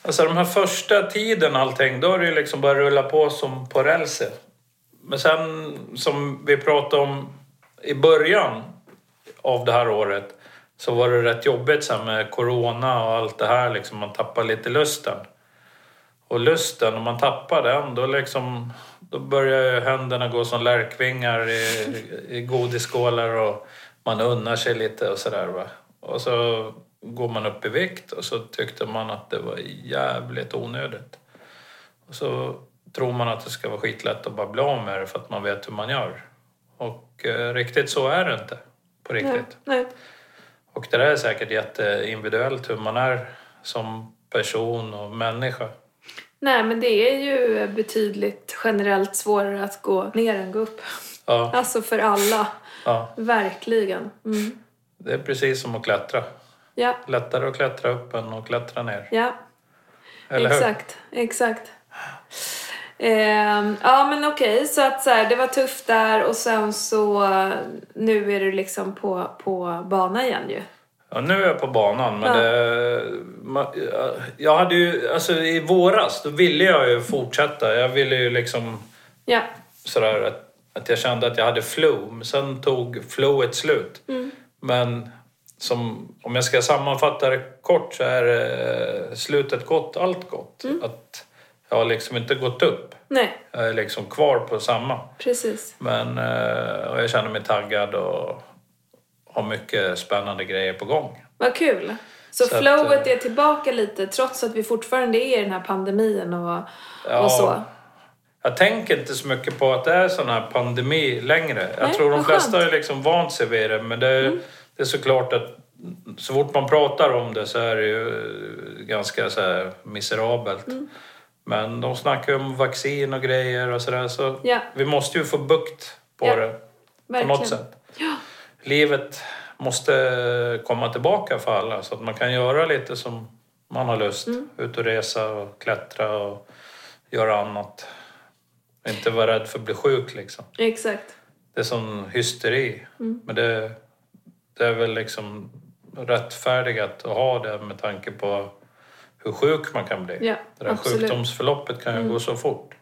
S2: Alltså de här första tiden allting, då har det ju liksom bara rullat på som på rälsen. Men sen, som vi pratade om i början av det här året, så var det rätt jobbigt så här med corona och allt det här liksom. Man tappar lite lusten. Och lusten, om man tappar den, då liksom... Då börjar ju händerna gå som lärkvingar i, i godisskålar och man unnar sig lite och sådär va. Och så går man upp i vikt och så tyckte man att det var jävligt onödigt. Och så tror man att det ska vara skitlätt att bara bli av med det för att man vet hur man gör. Och eh, riktigt så är det inte. På riktigt.
S1: nej, nej.
S2: Och det där är säkert jätteindividuellt hur man är som person och människa.
S1: Nej, men det är ju betydligt generellt svårare att gå ner än gå upp.
S2: Ja,
S1: Alltså för alla.
S2: ja.
S1: Verkligen. Mm.
S2: Det är precis som att klättra.
S1: Ja,
S2: Lättare att klättra upp än att klättra ner.
S1: ja.
S2: Eller hur?
S1: exakt. Exakt. Ehm, ja, men okej. Så att så här, det var tufft där och sen så eh, nu är du liksom på, på bana igen ju.
S2: Ja, nu är jag på banan, men
S1: Ja.
S2: det, ma- ja, jag hade ju, alltså i våras, då ville jag ju fortsätta. Jag ville ju liksom
S1: Ja,
S2: sådär att, att jag kände att jag hade flow. Men Sen tog flowet slut.
S1: Mm.
S2: Men som, om jag ska sammanfatta det kort så är eh, slutet gott, allt gott.
S1: Mm.
S2: Att jag har liksom inte gått upp.
S1: nej,
S2: Jag är liksom kvar på samma.
S1: precis.
S2: Men eh, och jag känner mig taggad och har mycket spännande grejer på gång.
S1: Vad kul. Så,
S2: Så att, eh,
S1: flowet är tillbaka lite trots att vi fortfarande är i den här pandemin och,
S2: Ja,
S1: och så.
S2: Jag tänker inte så mycket på att det är sån här pandemi längre. Jag
S1: Nej,
S2: tror de
S1: vad
S2: flesta
S1: skönt. Mm.
S2: har liksom vant sig vid det men det är, det är såklart att så fort man pratar om det så är det ju eh, ganska så här miserabelt.
S1: Mm.
S2: Men de snackar ju om vaccin och grejer och sådär så
S1: Ja.
S2: vi måste ju få bukt på
S1: Ja,
S2: det på något sätt.
S1: Ja.
S2: livet måste komma tillbaka för alla så att man kan göra lite som man har lust.
S1: Mm.
S2: Ut och resa och klättra och göra annat. Inte vara rädd för att bli sjuk liksom.
S1: Exakt.
S2: Det är sån hysteri.
S1: Mm.
S2: Men det, det är väl liksom rättfärdigat att ha det med tanke på hur sjuk man kan bli.
S1: Ja,
S2: det där
S1: absolut. Mm.
S2: sjukdomsförloppet kan ju gå så fort.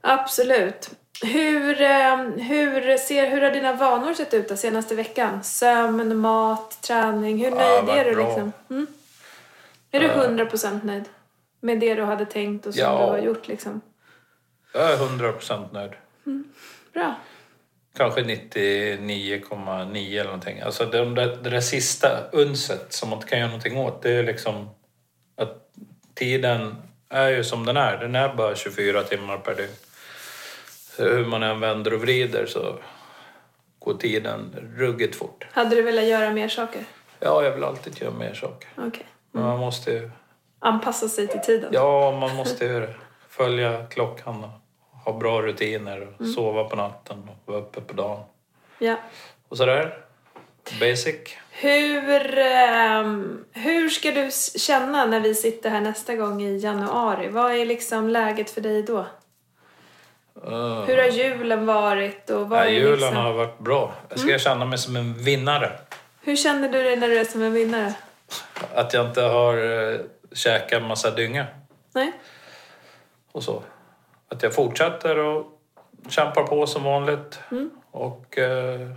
S1: Absolut. Hur, eh, hur, ser, hur har dina vanor sett ut den senaste veckan? Sömn, mat, träning. Hur nöjd
S2: vad
S1: är du?
S2: bra. Eh.
S1: Liksom? Mm? Är du 100% nöjd med det du hade tänkt och som
S2: Ja.
S1: du har gjort? Liksom?
S2: Jag är 100% nöjd.
S1: Bra.
S2: Kanske 99,9 eller någonting. Alltså det, det, det där sista unset som man inte kan göra någonting åt. Det är liksom att tiden är ju som den är. Den är bara 24 timmar per dygn. Så hur man än vänder och vrider så går tiden ruggigt fort.
S1: Hade du velat göra mer saker?
S2: Ja, jag vill alltid göra mer saker.
S1: Okej.
S2: Men man måste ju...
S1: Anpassa sig till tiden?
S2: Ja, man måste ju följa klockan och ha bra rutiner. Och Sova på natten och vara uppe på dagen.
S1: Ja.
S2: Och sådär. Basic.
S1: Hur, ehm, hur ska du s- känna när vi sitter här nästa gång i januari? Vad är liksom läget för dig då?
S2: Ah.
S1: Hur har julen varit? Och vad
S2: Ja,
S1: är
S2: julen
S1: liksom... Mm.
S2: har varit bra. Jag ska känna mig som en vinnare.
S1: Hur känner du dig när du är som en vinnare?
S2: Att jag inte har eh, käkat en massa dynga
S1: Nej?
S2: och så. Att jag fortsätter och kämpar på som vanligt.
S1: Mm.
S2: Och eh,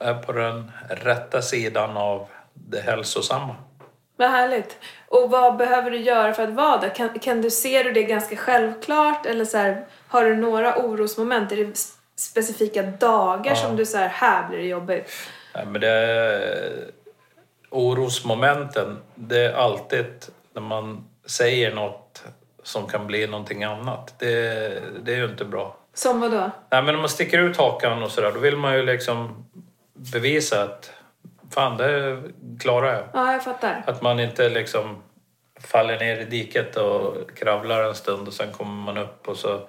S2: är på den rätta sidan av det hälsosamma.
S1: Vad härligt. Och vad behöver du göra för att vara där? Kan, kan du se det ganska självklart? Eller så här, har du några orosmoment? Är det s- specifika dagar som du så här, här blir det jobbigt?
S2: Nej, men det är orosmomenten. Det är alltid när man säger något som kan bli någonting annat. Det, det är ju inte bra.
S1: Som vad då?
S2: Nej, men om man sticker ut hakan och sådär, då vill man ju liksom bevisa att fan, det klarar jag.
S1: Ja, jag fattar.
S2: Att man inte liksom faller ner i diket och kravlar en stund och sen kommer man upp och så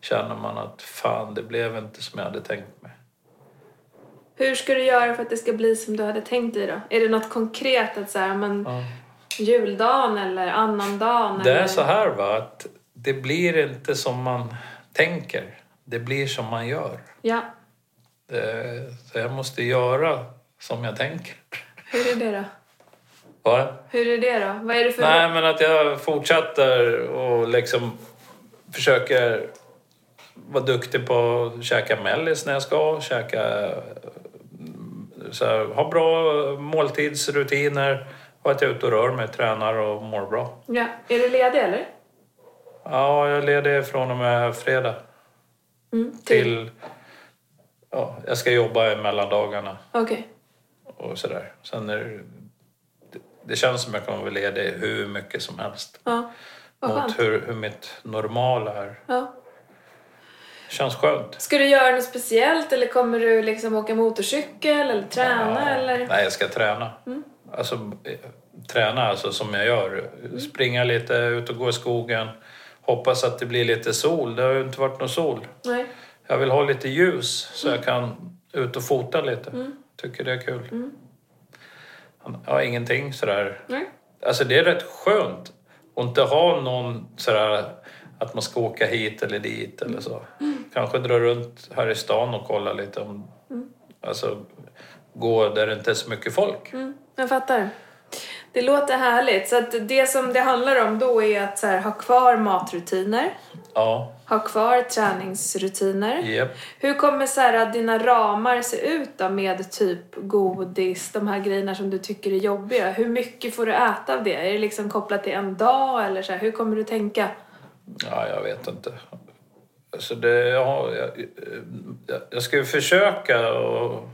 S2: känner man att fan, det blev inte som jag hade tänkt mig.
S1: Hur ska du göra för att det ska bli som du hade tänkt dig då? Är det något konkret? Att så här, men, Juldagen eller annandagen?
S2: Det
S1: eller?
S2: är så här va, att det blir inte som man tänker. Det blir som man gör.
S1: Ja,
S2: Det, så jag måste göra som jag tänker.
S1: hur är det då?
S2: Va?
S1: Hur är det då? Vad är det för...
S2: Nej, men att jag fortsätter och liksom försöker vara duktig på att käka mellis när jag ska, käka... mm, Så här, ha bra måltidsrutiner och att jag är ute och rör mig, tränar och mår bra.
S1: Ja. Är du ledig eller?
S2: Ja, jag är ledig från och med fredag
S1: Mm,
S2: till... Ja, jag ska jobba mellan dagarna
S1: Okej.
S2: och sådär. Sen är det, det- det känns som jag kommer vara ledig hur mycket som helst.
S1: Ja. Vad skönt.
S2: mot hur, hur mitt normala är.
S1: Ja.
S2: Känns skönt.
S1: Ska du göra något speciellt eller kommer du liksom åka motorcykel eller träna eller? Mm.
S2: Nej, jag ska träna. Alltså, eh, träna alltså som jag gör.
S1: Mm.
S2: Springa lite, ut och gå i skogen. Hoppas att det blir lite sol. Det har ju inte varit någon sol.
S1: Nej.
S2: Jag vill ha lite ljus så
S1: Mm.
S2: jag kan ut och fota lite. Tycker det är kul.
S1: Mm.
S2: Ja, ingenting sådär.
S1: Nej.
S2: Alltså det är rätt skönt att inte ha någon sådär att man ska åka hit eller dit eller så. Kanske dra runt här i stan och kolla lite om... Alltså gå där det inte är så mycket folk.
S1: Mm, jag fattar. Det låter härligt. Så att det som det handlar om då är att så här, ha kvar matrutiner,
S2: Ja,
S1: ha kvar träningsrutiner.
S2: jep.
S1: Hur kommer så här, dina ramar se ut då med typ godis, de här grejerna som du tycker är jobbiga? Hur mycket får du äta av det? Är det liksom kopplat till en dag eller så här, hur kommer du tänka?
S2: Ja, jag vet inte. Alltså det, ja, jag, jag, jag ska ju försöka och...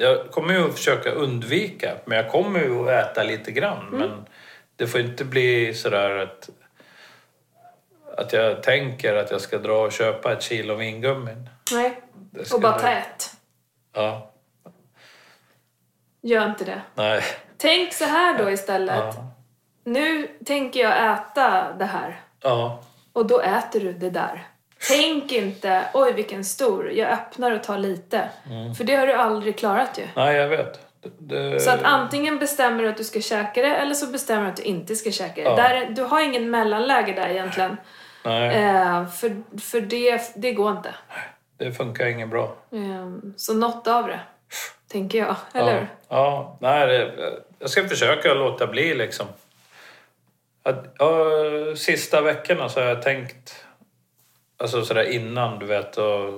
S2: Jag kommer ju att försöka undvika, men jag kommer ju att äta lite grann.
S1: Mm.
S2: Men det får inte bli sådär att... Att jag tänker att jag ska dra och köpa ett kilo vingummin.
S1: Nej,
S2: Det
S1: och
S2: skulle-
S1: bara ta ett.
S2: Ja,
S1: Gör inte det.
S2: nej.
S1: Tänk så här då istället.
S2: Ja.
S1: Nu tänker jag äta det här.
S2: ja.
S1: Och då äter du det där. Tänk inte, oj vilken stor, jag öppnar och tar lite.
S2: Mm.
S1: För det har du aldrig klarat ju.
S2: Nej, jag vet. Det, det,
S1: Så att antingen bestämmer du att du ska käka det eller så bestämmer du att du inte ska käka det.
S2: Ja.
S1: Där, du har ingen mellanläge där egentligen.
S2: nej,
S1: Eh, för för det, det går inte.
S2: det funkar inget bra.
S1: Eh, så något av det, tänker jag. Eller
S2: ja.
S1: hur?
S2: Ja, nej, det, jag ska försöka låta bli liksom. Att, ja, sista veckorna så har jag tänkt, alltså sådär innan du vet och,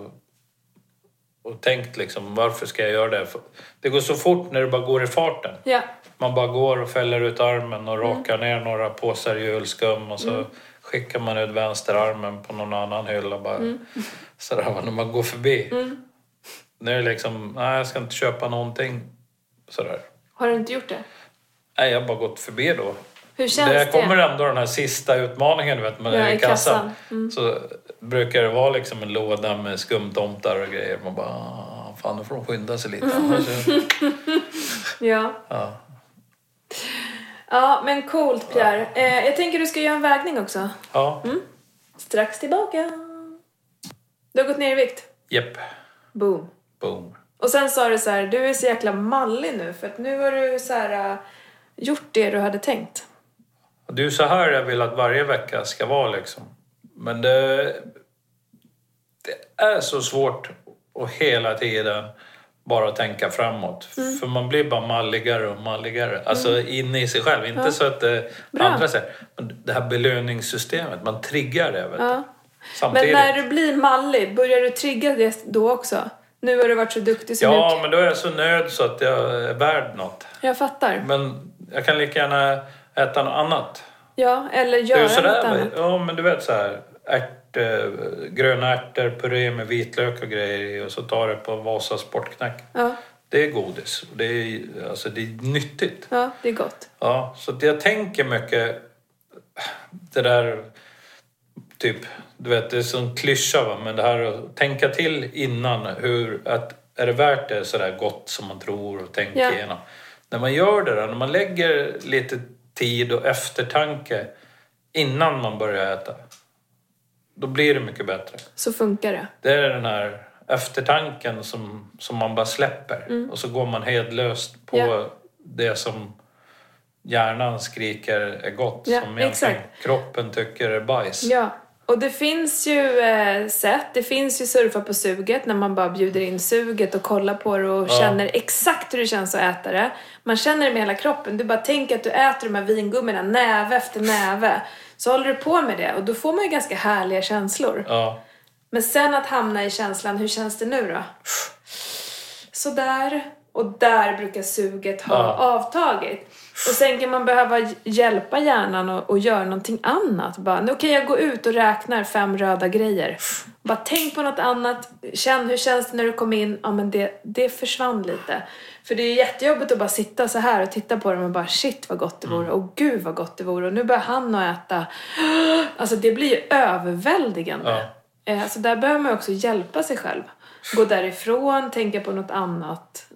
S2: och tänkt liksom varför ska jag göra det? För Det går så fort när det bara går i farten.
S1: Ja.
S2: Man bara går och fäller ut armen
S1: Mm.
S2: och rakar ner några påsar julskum och så skickar man ut vänsterarmen på någon annan hylla bara
S1: Mm.
S2: sådär va, när man går förbi. Nu är det liksom, nej jag ska inte köpa någonting sådär.
S1: Har du inte gjort det?
S2: Nej, jag har bara gått förbi då.
S1: Hur känns det?
S2: det kommer ändå den här sista utmaningen du vet, man är
S1: Ja,
S2: i
S1: i
S2: kassan.
S1: kassan. Mm.
S2: Så brukar det vara liksom en låda med skumtomtar och grejer. Man bara, "Ah, fan nu får de skynda sig
S1: Mm.
S2: lite. annars är-
S1: Ja.
S2: Ja.
S1: ja, men coolt Pierre. Eh, jag tänker du ska göra en vägning också.
S2: Ja,
S1: Mm. Strax tillbaka. Du har gått ner i vikt.
S2: jepp.
S1: Boom.
S2: Boom.
S1: Och sen sa du så här, du är så jäkla mallig nu för att nu har du så här äh, gjort det du hade tänkt.
S2: Och Det är ju så här jag vill att varje vecka ska vara liksom. Men det... det är så svårt att hela tiden bara tänka framåt.
S1: Mm.
S2: För man blir bara malligare och malligare. Alltså inne i sig själv. Inte så att det
S1: Bra.
S2: andra säger. Men det här belöningssystemet, man triggar det. Vet du.
S1: Ja. Men
S2: Samtidigt.
S1: när du blir mallig, börjar du trigga det då också? Nu har du varit så duktig så
S2: Ja,
S1: nu...
S2: men då är jag så nöjd så att jag är värd något.
S1: Jag fattar.
S2: Men jag kan lika gärna äta något annat.
S1: Ja, eller
S2: Det är
S1: göra
S2: ju
S1: något
S2: sådär,
S1: annat.
S2: va? ja men du vet så här, ärt, eh, gröna ärtor, puré med vitlök och grejer i och så tar det på Vasa sportknack.
S1: Ja,
S2: Det är godis. Det är, alltså, det är nyttigt.
S1: ja, det är gott.
S2: Ja, så att jag tänker mycket det där typ, du vet det är sån klyscha va, men det här att tänka till innan hur att är det värt det sådär gott som man tror och tänker
S1: Ja.
S2: igenom. När man gör det där, när man lägger lite tid och eftertanke innan man börjar äta, då blir det mycket bättre.
S1: Så funkar det.
S2: Det är den här eftertanken som, som man bara släpper och så går man hedlöst på
S1: Mm. Ja.
S2: det som hjärnan skriker är gott
S1: Ja,
S2: som egentligen
S1: exakt.
S2: kroppen tycker är bajs.
S1: Ja. Och det finns ju eh, sätt, det finns ju surfa på suget när man bara bjuder in suget och kollar på det och känner exakt hur det känns att äta det. Man känner det med hela kroppen. Du bara tänker att du äter de här vingummorna näve efter näve. Så håller du på med det och då får man ju ganska härliga känslor.
S2: Ja.
S1: Men sen att hamna i känslan, hur känns det nu då? Sådär. Och där brukar suget ha
S2: Ja.
S1: avtagit. Och sen kan man behöva hj- hjälpa hjärnan och, och göra någonting annat. Bara, nu kan jag gå ut och räknar fem röda grejer. Bara tänk på något annat. Känn, hur känns det när du kom in? Ja men det, det försvann lite. För det är jättejobbigt att bara sitta så här och titta på dem och bara shit vad gott det vore. Och gud vad gott det vore. Och nu börjar han att äta. Alltså det blir ju överväldigande.
S2: Ja.
S1: Eh, Så där behöver man också hjälpa sig själv. Gå därifrån, tänka på något annat.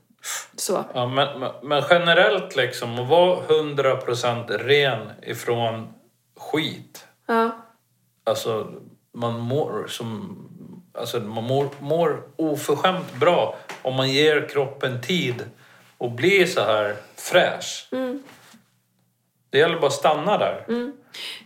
S1: Så.
S2: Ja, men, men- men generellt liksom, att vara 100% ren ifrån skit.
S1: Ja,
S2: Alltså, man mår som... Alltså, man mår, mår oförskämt bra om man ger kroppen tid och blir så här fräsch.
S1: Mm.
S2: Det gäller bara att stanna där.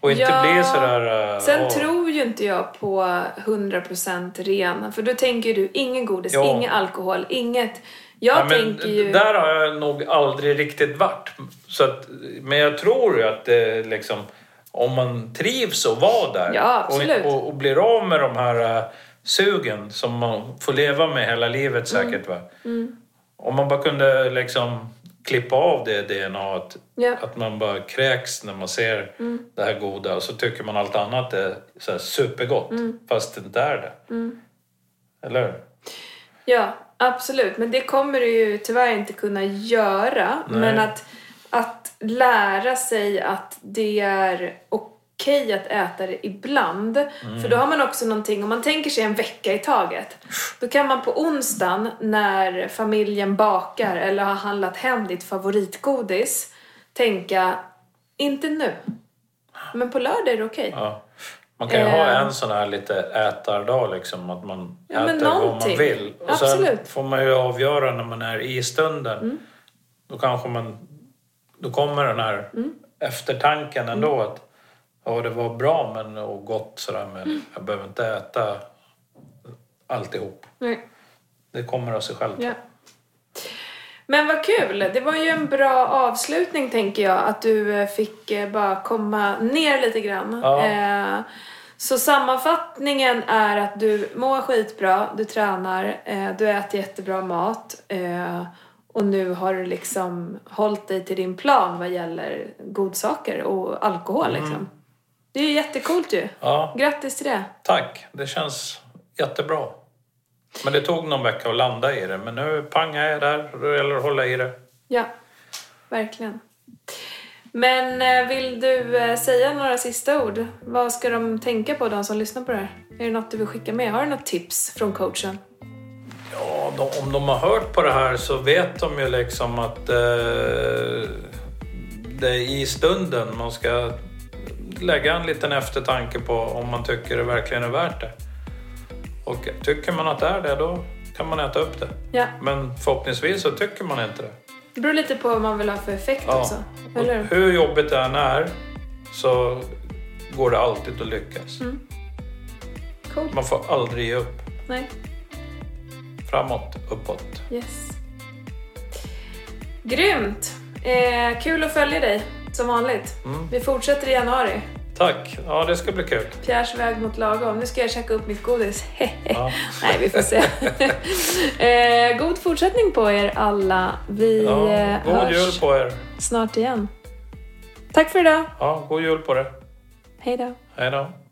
S2: Och inte
S1: Ja.
S2: bli så där... eh,
S1: Sen
S2: åh.
S1: tror ju inte jag på 100% ren. För då tänker du ingen godis,
S2: Ja.
S1: ingen alkohol, inget. Jag
S2: Ja, men
S1: tänker ju...
S2: Där har jag nog aldrig riktigt varit. Så att, men jag tror ju att det liksom, om man trivs och var där
S1: Ja, absolut.
S2: och, och, och blir av med de här äh, sugen som man får leva med hela livet
S1: Mm.
S2: säkert. Va? Om man bara kunde liksom klippa av det DNA att,
S1: Ja. Mm.
S2: att man bara kräks när man ser det här goda och så tycker man allt annat är så här supergott
S1: Mm.
S2: fast det inte är det. Eller hur?
S1: Ja, absolut. Men det kommer du ju tyvärr inte kunna göra.
S2: Nej.
S1: Men att, att lära sig att det är okej att äta det ibland.
S2: Mm.
S1: För då har man också någonting, om man tänker sig en vecka i taget. Då kan man på onsdagen när familjen bakar eller har handlat hem ditt favoritgodis tänka, inte nu. Men på lördag är det okej.
S2: Ja. Man kan ju ha
S1: Eh.
S2: en sån här lite ätardag liksom, att man
S1: Ja, men
S2: äter vad man
S1: någonting.
S2: vill. Och sen
S1: Absolut. Mm.
S2: får man ju avgöra när man är i stunden. Då kanske man, då kommer den här
S1: Mm.
S2: eftertanken ändå att ja, det var bra men, och gott sådär men
S1: Mm.
S2: jag behöver inte äta alltihop.
S1: Nej.
S2: Det kommer av sig själv.
S1: Ja. Men vad kul! Det var ju en bra avslutning tänker jag. Att du eh, fick eh, bara komma ner lite grann.
S2: Ja.
S1: Eh, Så sammanfattningen är att du mår skitbra, du tränar, eh, du äter jättebra mat. eh, Och nu har du liksom hållit dig till din plan vad gäller godsaker och alkohol liksom. Det är ju jättecoolt ju.
S2: Ja,
S1: Grattis till det.
S2: tack. Det känns jättebra. Men det tog någon vecka att landa i det. Men nu pang är jag där. Då gäller det att hålla i det.
S1: Ja, verkligen. Men eh, vill du eh, säga några sista ord? Vad ska de tänka på, de som lyssnar på det här? Är det något du vill skicka med? Har du något tips från coachen?
S2: Ja, de, om de har hört på det här så vet de ju liksom att eh, det är i stunden man ska lägga en liten eftertanke på om man tycker det verkligen är värt det. Och tycker man att det är det, då kan man äta upp det.
S1: Ja,
S2: Men förhoppningsvis så tycker man inte det.
S1: det beror lite på vad man vill ha för effekt
S2: Ja.
S1: också.
S2: Och
S1: Eller hur?
S2: hur jobbigt det än är så går det alltid att lyckas.
S1: Coolt.
S2: Man får aldrig ge upp.
S1: Nej.
S2: Framåt, uppåt.
S1: Yes. Grymt! Eh, kul att följa dig, som vanligt.
S2: Mm.
S1: Vi fortsätter i januari.
S2: Tack! Ja, det ska bli kul.
S1: Pierres väg mot lagom. Nu ska jag checka upp mitt godis.
S2: Ja.
S1: Nej, vi får se. eh, god fortsättning på er alla. Vi
S2: Ja,
S1: eh,
S2: god
S1: hörs
S2: jul på er!
S1: snart igen. Tack för idag.
S2: Ja, god jul på er!
S1: Hej då.
S2: Hej då!